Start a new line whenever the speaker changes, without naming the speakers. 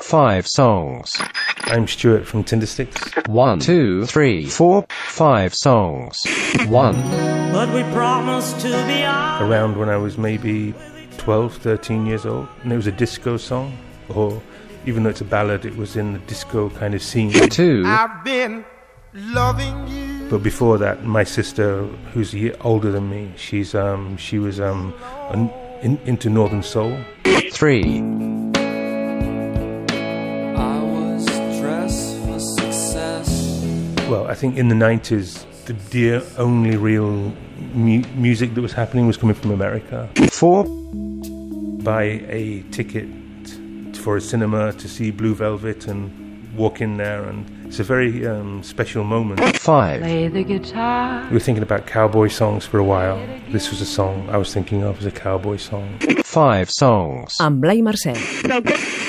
five songs.
I'm Stuart from Tinder Sticks.
One, two, three, four, five songs. One,
But we promised to be honest.
Around when I was maybe 12, 13 years old, and it was a disco song, or even though it's a ballad, it was in the disco kind of scene.
two,
I've been loving you.
But before that, my sister, who's a year older than me, she's um, she was um, an, in, into Northern Soul.
three,
I was dressed for success.
Well, I think in the 90s, the, the only real mu- music that was happening was coming from America.
four,
buy a ticket for a cinema to see Blue Velvet and walk in there, and it's a very um, special moment.
five,
Play the guitar.
We were thinking about cowboy songs for a while. This was a song I was thinking of as a cowboy song.
five songs.
amb Blai Mercè.